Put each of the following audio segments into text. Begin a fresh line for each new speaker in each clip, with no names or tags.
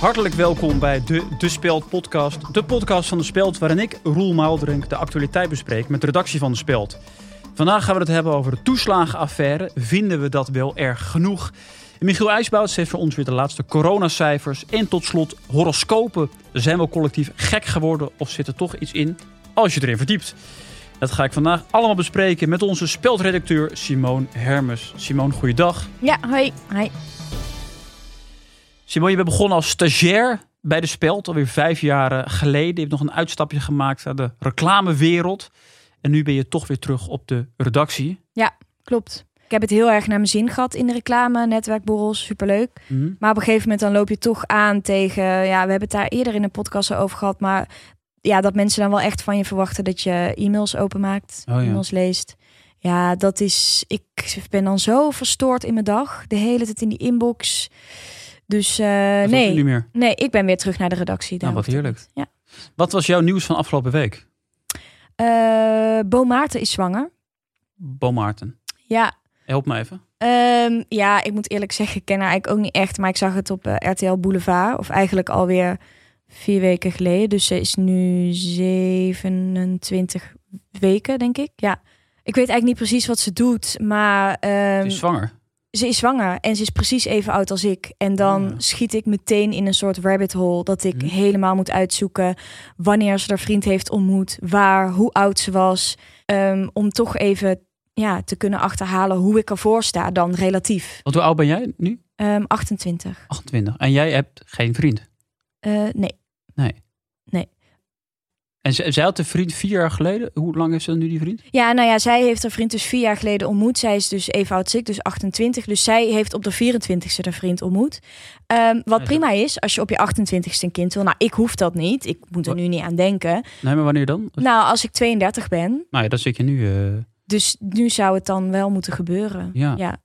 Hartelijk welkom bij de De Speld podcast. De podcast van De Speld waarin ik, Roel Maalderink, de actualiteit bespreek met de redactie van De Speld. Vandaag gaan we het hebben over de toeslagenaffaire. Vinden we dat wel erg genoeg? En Michiel IJsbouts heeft voor ons weer de laatste coronacijfers. En tot slot horoscopen. Zijn we collectief gek geworden of zit er toch iets in als je erin verdiept? Dat ga ik vandaag allemaal bespreken met onze speldredacteur Simone Hermes. Simone, goeiedag.
Ja, hoi. Hoi.
Simon, je bent begonnen als stagiair bij de Speld alweer vijf jaar eh, geleden. Je hebt nog een uitstapje gemaakt naar de reclamewereld. En nu ben je toch weer terug op de
Eh,
redactie.
Klopt. Ik heb het heel erg naar mijn zin gehad in de reclame, netwerkborrels, superleuk.
Mhm.
Maar op een gegeven moment dan loop je toch aan tegen, ja, we hebben het daar eerder in de podcast al over gehad, maar ja, dat mensen dan wel echt van je verwachten dat je e-mails openmaakt,
Oh ja.
e-mails leest. Ja, dat is, ik ben dan zo verstoord in mijn dag, de hele tijd in die inbox. Dus eh,
Dat hoeft nu
nee,
niet meer.
nee, ik ben weer terug naar de redactie.
Nou,
daarom.
wat heerlijk.
Ja.
Wat was jouw nieuws van afgelopen week,
Eh, Bo Maarten is zwanger.
Bo Maarten?
Ja,
Help me even.
Ehm, ja, ik moet eerlijk zeggen, ik ken haar eigenlijk ook niet echt. Maar ik zag het op eh, RTL Boulevard. Of eigenlijk alweer vier weken geleden. Dus ze is nu 27 weken, denk ik. Ja. Ik weet eigenlijk niet precies wat ze doet. Maar ehm,
Ze is zwanger.
ze is zwanger. En ze is precies even oud als ik. En dan
Oh ja.
schiet ik meteen in een soort rabbit hole. Dat ik
Hm.
helemaal moet uitzoeken wanneer ze haar vriend heeft ontmoet. Waar, hoe oud ze was. ehm, om toch even ja, te kunnen achterhalen hoe ik ervoor sta dan relatief.
Want hoe oud ben jij nu?
Ehm, 28.
28. En jij hebt geen vriend.
Eh, nee,
En ze- zij had een vriend vier jaar geleden. Hoe lang heeft ze nu die vriend?
Ja, nou ja, zij heeft haar vriend dus vier jaar geleden ontmoet. Zij is dus even oud als ik, dus 28. Dus zij heeft op de 24ste haar vriend ontmoet. Ehm, wat
Ja,
prima is, als je op je 28ste een kind wil. Nou, ik hoef dat niet. Ik moet er nu niet aan denken.
Nee, maar wanneer dan?
Nou, als ik 32 ben.
Nou ja, dat zit je nu. eh,
Dus nu zou het dan wel moeten gebeuren.
Ja.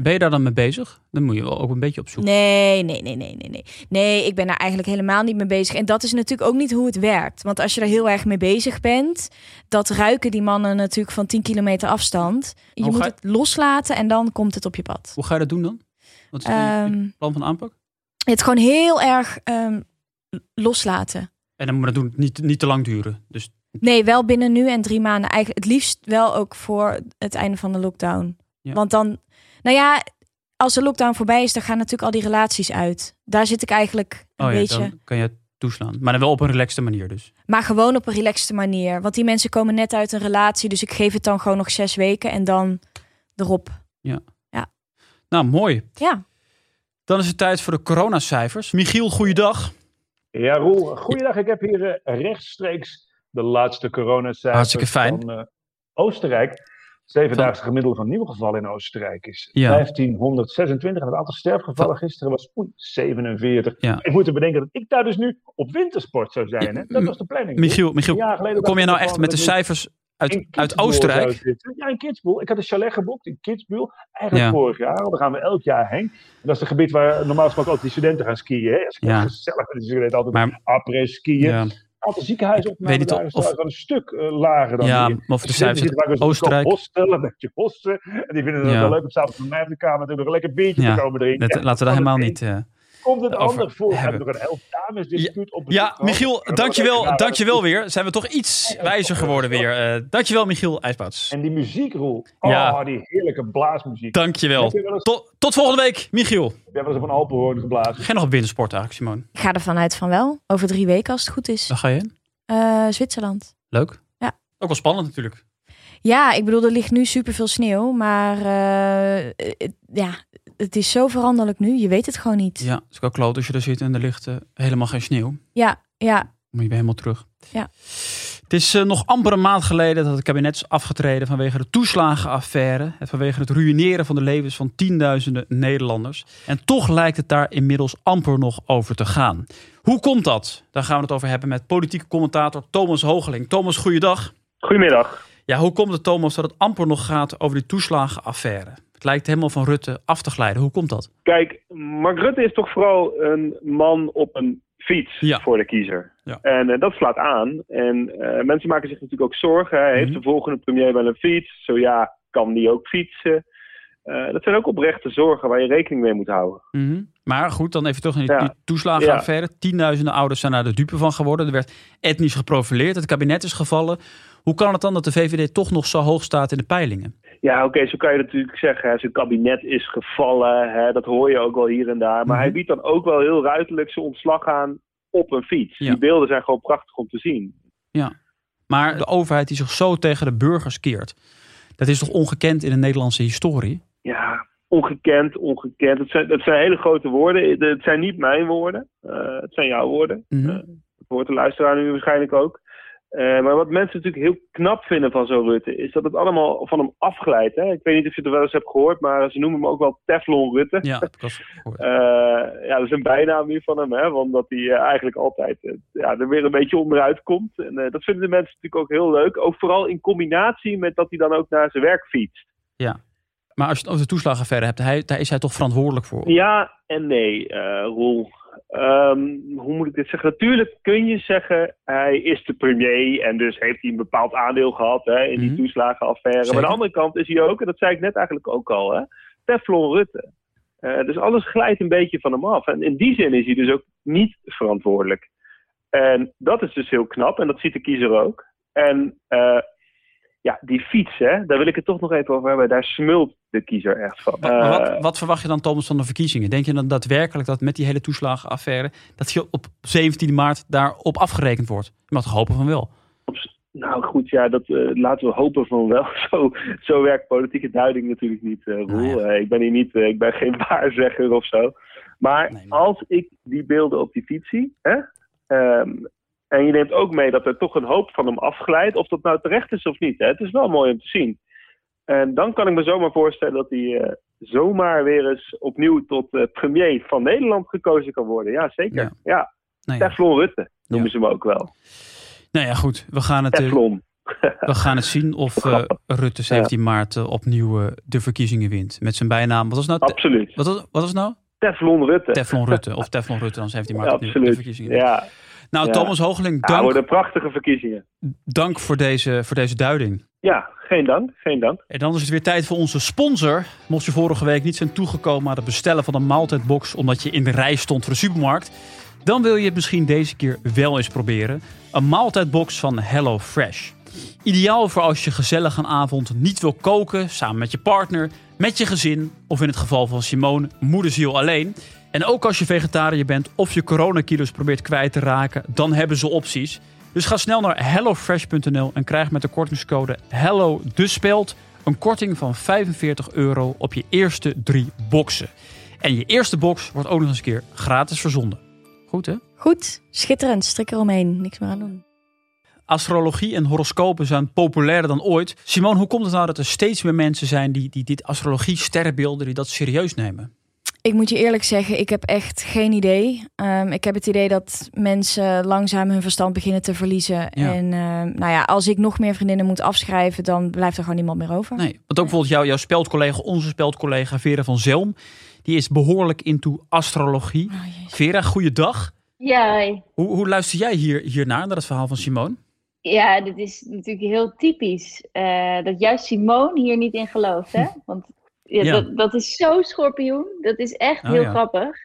Ben je daar dan mee bezig? Dan moet je wel ook een beetje op zoek.
Nee, nee, nee, nee, nee, nee. Nee, ik ben daar eigenlijk helemaal niet mee bezig. En dat is natuurlijk ook niet hoe het werkt. Want als je er heel erg mee bezig bent, dat ruiken die mannen natuurlijk van 10 kilometer afstand. Je
Hoe
moet
ga-
het loslaten en dan komt het op je pad.
Hoe ga je dat doen dan? Wat is dan je
Ehm
plan van aanpak?
het gewoon heel erg ehm, loslaten.
En dan moet dat doen, niet, niet te lang duren. Dus
Nee, wel binnen nu en drie maanden. Eigenlijk het liefst wel ook voor het einde van de lockdown.
Ja.
Want dan, nou ja, als de lockdown voorbij is, dan gaan natuurlijk al die relaties uit. Daar zit ik eigenlijk een
oh ja,
beetje.
dan kan je het toeslaan. Maar dan wel op een relaxte manier dus.
Maar gewoon op een relaxte manier. Want die mensen komen net uit een relatie. Dus ik geef het dan gewoon nog zes weken en dan erop.
Nou, mooi.
Ja.
Dan is het tijd voor de coronacijfers. Michiel, goeiedag.
Ja, Roel, goeiedag. Ik heb hier eh, rechtstreeks de laatste coronacijfers
Hartstikke fijn.
van eh, Oostenrijk. Zevendaagse
Van-
gemiddelde van nieuwe gevallen in Oostenrijk is
Ja.
1526. En het aantal sterfgevallen gisteren was oei, 47.
Ja.
Ik moet te bedenken dat ik daar dus nu op wintersport zou zijn. Hè? Dat
M-
was de planning.
Michiel,
Een
Michiel
jaar geleden
kom je
dacht
nou
ik
echt
gewoon
met de
dat ik
cijfers uit,
in
uit
Kitzbühel zou
Oostenrijk?
zitten. Ja, in Kitzbühel. Ik had een chalet geboekt in Kitzbühel. Eigenlijk
Ja.
vorig jaar. al. Daar gaan we elk jaar heen. En dat is het gebied waar normaal gesproken ook die studenten gaan skiën. Hè? Dat is
Ja.
gezellig. Die studenten altijd
Maar-
après skiën.
Ja,
aantal ziekenhuisopnames
Ik weet niet
daar is
of-
daar wel een stuk eh, lager dan
ja
hier.
maar over de
Studenten
cijfers
zitten vaak
uit
wel eens op
Oostenrijk.
Hostel, een beetje hosten. En die vinden het
Ja.
wel leuk om s'avonds met mij op de kamer natuurlijk nog een lekker biertje
Ja,
te komen drinken.
Dat, laten we daar helemaal niet... eh.
Komt het
over
ander voor? We
hebben.
hebben nog een elf dames dispuut op het
Ja,
toegang.
Michiel,
En
dankjewel,
dan-
dankjewel weer. Zijn we toch iets wijzer geworden weer. Eh, dankjewel, Michiel IJsbouts.
En die muziekroel. Oh,
Ja.
die heerlijke blaasmuziek.
Dankjewel.
Heb je wel eens-
Tot, tot volgende week, Michiel.
We hebben eens op een alpenhoorn geblazen.
Geen nog op binnensport eigenlijk, Simone.
Ik ga ervan uit van wel. Over drie weken als het goed is.
Daar ga je heen.
Eh, Zwitserland.
Leuk.
Ja.
Ook wel spannend natuurlijk.
Ja, ik bedoel, er ligt nu superveel sneeuw. Maar eh, het- ja, het is zo veranderlijk nu. Je weet het gewoon niet.
Ja, het is ook wel kloot als je er zit en er ligt eh, helemaal geen sneeuw.
Ja, ja,
Moet je weer helemaal terug.
Ja.
Het is eh, nog amper een maand geleden dat het kabinet is afgetreden vanwege de toeslagenaffaire. En vanwege het ruïneren van de levens van tienduizenden Nederlanders. En toch lijkt het daar inmiddels amper nog over te gaan. Hoe komt dat? Daar gaan we het over hebben met politieke commentator Thomas Hoogeling. Thomas, goeiedag.
Goedemiddag.
Ja, hoe komt het Thomas dat het amper nog gaat over die toeslagenaffaire? Het lijkt helemaal van Rutte af te glijden. Hoe komt dat?
Kijk, Mark Rutte is toch vooral een man op een fiets
Ja.
voor de kiezer.
Ja.
En eh, dat slaat aan. En eh, mensen maken zich natuurlijk ook zorgen. Hè. Heeft
Mhm.
de volgende premier wel een fiets? Zo ja, kan die ook fietsen? Eh, dat zijn ook oprechte zorgen waar je rekening mee moet houden.
Mhm. Maar goed, dan even terug naar die,
Ja.
die toeslagenaffaire. Tienduizenden ouders zijn daar de dupe van geworden. Er werd etnisch geprofileerd. Het kabinet is gevallen. Hoe kan het dan dat de VVD toch nog zo hoog staat in de peilingen?
Ja, oké, zo kan je natuurlijk zeggen. hè, Zijn kabinet is gevallen. Hè, dat hoor je ook wel hier en daar. Maar
Mhm.
hij biedt dan ook wel heel ruiterlijk zijn ontslag aan op een fiets.
Ja.
Die beelden zijn gewoon prachtig om te zien.
Maar de overheid die zich zo tegen de burgers keert. Dat is toch ongekend in de Nederlandse historie?
Ja, ongekend, ongekend. Het zijn, het zijn hele grote woorden. Het zijn niet mijn woorden. Eh, het zijn jouw woorden.
Mhm.
Ja. Dat hoort de luisteraar nu waarschijnlijk ook. Eh, maar wat mensen natuurlijk heel knap vinden van zo'n Rutte, is dat het allemaal van hem afglijdt. Hè? Ik weet niet of je het wel eens hebt gehoord, maar ze noemen hem ook wel Teflon Rutte.
Ja, heb ik al gehoord.
Eh, ja, dat is een bijnaam nu van hem, hè, omdat hij eh, eigenlijk altijd eh, ja, er weer een beetje onderuit komt. En eh, dat vinden de mensen natuurlijk ook heel leuk. Ook vooral in combinatie met dat hij dan ook naar zijn werk fietst.
Maar als je het over de toeslagenaffaire hebt, hij, daar is hij toch verantwoordelijk voor?
Ja en nee, eh, Roel. Ehm, hoe moet ik dit zeggen? Natuurlijk kun je zeggen, hij is de premier en dus heeft hij een bepaald aandeel gehad hè, in die
Mhm.
toeslagenaffaire. Maar aan
Zeker.
de andere kant is hij ook, en dat zei ik net eigenlijk ook al, hè, Teflon Rutte. Eh, dus alles glijdt een beetje van hem af. En in die zin is hij dus ook niet verantwoordelijk. En dat is dus heel knap en dat ziet de kiezer ook. En eh, ja, die fiets, hè, daar wil ik het toch nog even over hebben. Daar smult de kiezer echt van.
Wa- maar
Eh,
wat, wat verwacht je dan, Thomas, van de verkiezingen? Denk je dan daadwerkelijk dat met die hele toeslagenaffaire... dat je op 17 maart daarop afgerekend wordt? Je mag toch hopen van wel?
Nou goed, ja, dat eh, laten we hopen van wel. Zo, zo werkt politieke duiding natuurlijk niet, eh, Roel.
Nou
Eh, ik ben hier niet, eh, ik ben geen waarzegger of zo. Maar
Nee, maar-
als ik die beelden op die fiets zie, hè, ehm, en je neemt ook mee dat er toch een hoop van hem afglijdt, of dat nou terecht is of niet, hè, het is wel mooi om te zien. En dan kan ik me zomaar voorstellen dat hij eh, zomaar weer eens opnieuw tot eh, premier van Nederland gekozen kan worden. Ja, zeker.
Ja.
Ja,
Nou ja,
Teflon Rutte noemen
Ja.
ze hem ook wel.
nou ja goed. We gaan het, eh,
Teflon.
we gaan het zien of eh, Rutte 17 maart eh, opnieuw eh, de verkiezingen wint. Met zijn bijnaam. Wat was nou? Te-
Absoluut.
Wat was, wat was nou?
Teflon Rutte.
Teflon Rutte. Of Teflon Rutte dan 17 maart opnieuw de
Absoluut.
verkiezingen wint.
Ja,
Nou,
Ja.
Thomas Hoogeling,
ja
dank,
worden prachtige verkiezingen.
dank voor, deze, voor deze duiding.
Ja, geen dank, geen dank.
En dan is het weer tijd voor onze sponsor. Mocht je vorige week niet zijn toegekomen aan het bestellen van een maaltijdbox omdat je in de rij stond voor de supermarkt, dan wil je het misschien deze keer wel eens proberen. Een maaltijdbox van HelloFresh. Ideaal voor als je gezellig een avond niet wil koken samen met je partner, met je gezin of in het geval van Simone, moederziel alleen. En ook als je vegetariër bent of je coronakilo's probeert kwijt te raken, dan hebben ze opties. Dus ga snel naar hellofresh.nl en krijg met de kortingscode hello de speld een korting van 45 euro op je eerste drie boxen. En je eerste box wordt ook nog eens een keer gratis verzonden. Goed hè?
Goed, schitterend. Strik eromheen. Niks meer aan doen.
Astrologie en horoscopen zijn populairder dan ooit. Simone, hoe komt het nou dat er steeds meer mensen zijn die, die dit astrologie, sterrenbeelden, die dat serieus nemen?
Ik moet je eerlijk zeggen, ik heb echt geen idee. Ehm, ik heb het idee dat mensen langzaam hun verstand beginnen te verliezen. En ehm, nou ja, als ik nog meer vriendinnen moet afschrijven, dan blijft er gewoon niemand meer over.
Nee, want ook bijvoorbeeld jou, jouw speldcollega, onze speldcollega Vera van Zelm, die is behoorlijk into astrologie.
Oh, jezus.
Vera, goeiedag.
Ja,
Hoe, hoe luister jij hier, hiernaar, naar het verhaal van Simone?
ja, dit is natuurlijk heel typisch. eh, dat juist Simone hier niet in gelooft, hè? Want ja,
Hm. Ja.
Dat, dat is zo schorpioen. Dat is echt
Oh,
heel
ja.
grappig.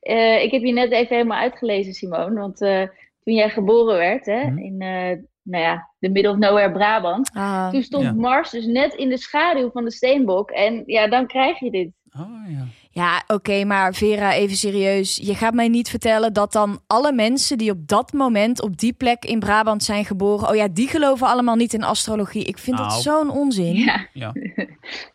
Eh, ik heb je net even helemaal uitgelezen, Simone. Want eh, toen jij geboren werd, hè,
Mhm.
in eh, nou ja, de middle of nowhere Brabant.
Ah,
Toen stond
Oh, Ja.
Mars dus net in de schaduw van de steenbok. En ja, dan krijg je dit.
Oh ja.
ja, oké, maar Vera, even serieus. Je gaat mij niet vertellen dat dan alle mensen die op dat moment op die plek in Brabant zijn geboren, oh ja, die geloven allemaal niet in astrologie. Ik vind
Nou.
dat zo'n onzin.
Ja.
Ja.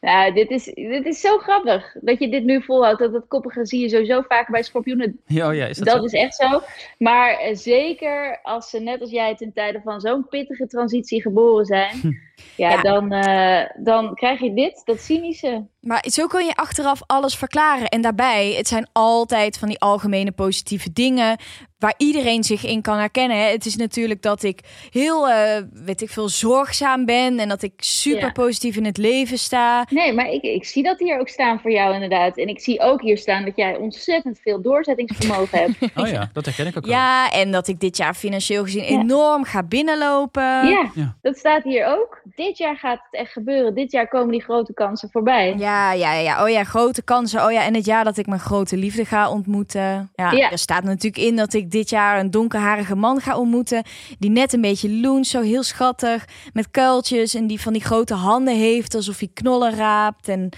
Ja, dit is, dit is zo grappig dat je dit nu volhoudt. Dat, dat koppige zie je sowieso vaak bij schorpioenen.
Ja, oh ja, is dat,
Dat,
zo?
is echt zo. Maar eh, zeker als ze, net als jij, ten tijde van zo'n pittige transitie geboren zijn.
Hm.
Ja,
Ja.
Dan, eh, dan krijg je dit, dat cynische.
Maar zo kun je achteraf alles verklaren. En daarbij, het zijn altijd van die algemene positieve dingen waar iedereen zich in kan herkennen. hè. Het is natuurlijk dat ik heel, eh, weet ik veel, zorgzaam ben en dat ik super
Ja.
positief in het leven sta.
Nee, maar ik, ik zie dat hier ook staan voor jou inderdaad. En ik zie ook hier staan dat jij ontzettend veel doorzettingsvermogen hebt.
Oh ja, dat herken ik ook wel.
Ja, en dat ik dit jaar financieel gezien
Ja.
enorm ga binnenlopen.
ja,
ja.
dat staat hier ook. dit jaar gaat het echt gebeuren. Dit jaar komen die grote kansen voorbij.
Ja, ja, ja. Oh ja, grote kansen. Oh ja, en het jaar dat ik mijn grote liefde ga ontmoeten. Ja,
Ja.
er staat natuurlijk in dat ik dit jaar een donkerharige man ga ontmoeten. Die net een beetje loens, zo heel schattig. Met kuiltjes en die van die grote handen heeft, alsof hij knollen raapt. En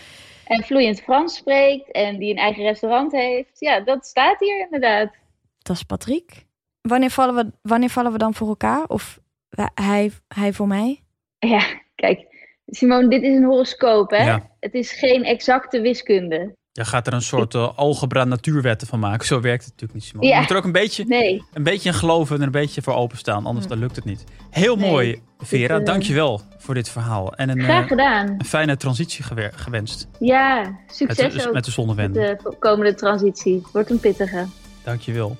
En vloeiend Frans spreekt en die een eigen restaurant heeft. Ja, dat staat hier inderdaad.
dat is Patrick. Wanneer vallen we, wanneer vallen we dan voor elkaar? Of wa- hij, hij voor mij?
Ja, kijk. Simone, dit is een horoscoop, hè?
Ja.
Het is geen exacte wiskunde.
Je gaat er een soort eh, algebra natuurwetten van maken. Zo werkt het natuurlijk niet, Simone.
Ja.
Je moet er ook een beetje,
Nee.
een beetje in geloven en een beetje voor openstaan. Anders dan lukt het niet. Heel
Hm. Nee.
mooi, Vera.
Dus, eh,
Dankjewel voor dit verhaal. En een,
Graag
eh,
gedaan.
een fijne transitie gewer- gewenst.
Ja,
Met de,
succes ook
met de
met
zonnewende.
de komende transitie. Het Wordt een pittige.
Dankjewel.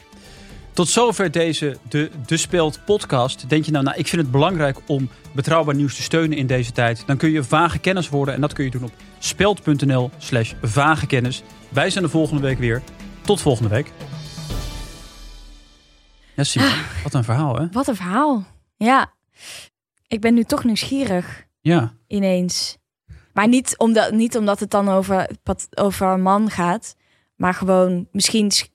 Tot zover deze De, de Speelt podcast. Denk je nou, nou, ik vind het belangrijk om betrouwbaar nieuws te steunen in deze tijd. Dan kun je vage kennis worden en dat kun je doen op speld.nl slash vage kennis. Wij zijn de volgende week weer. Tot volgende week. Ja, Simon, wat een verhaal, hè?
Wat een verhaal. Ja, ik ben nu toch nieuwsgierig.
Ja,
ineens. Maar niet omdat, niet omdat het dan over, pat- over een man gaat. Maar gewoon, misschien, sch-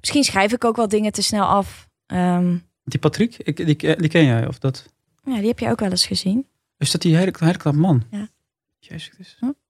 misschien schrijf ik ook wel dingen te snel af. Ehm,
die Patrick, ik, die, eh, die ken jij, of dat?
ja, die heb je ook wel eens gezien.
Is dat die hele, hele knap man?
Ja.
Jezus, Christus.
Hm?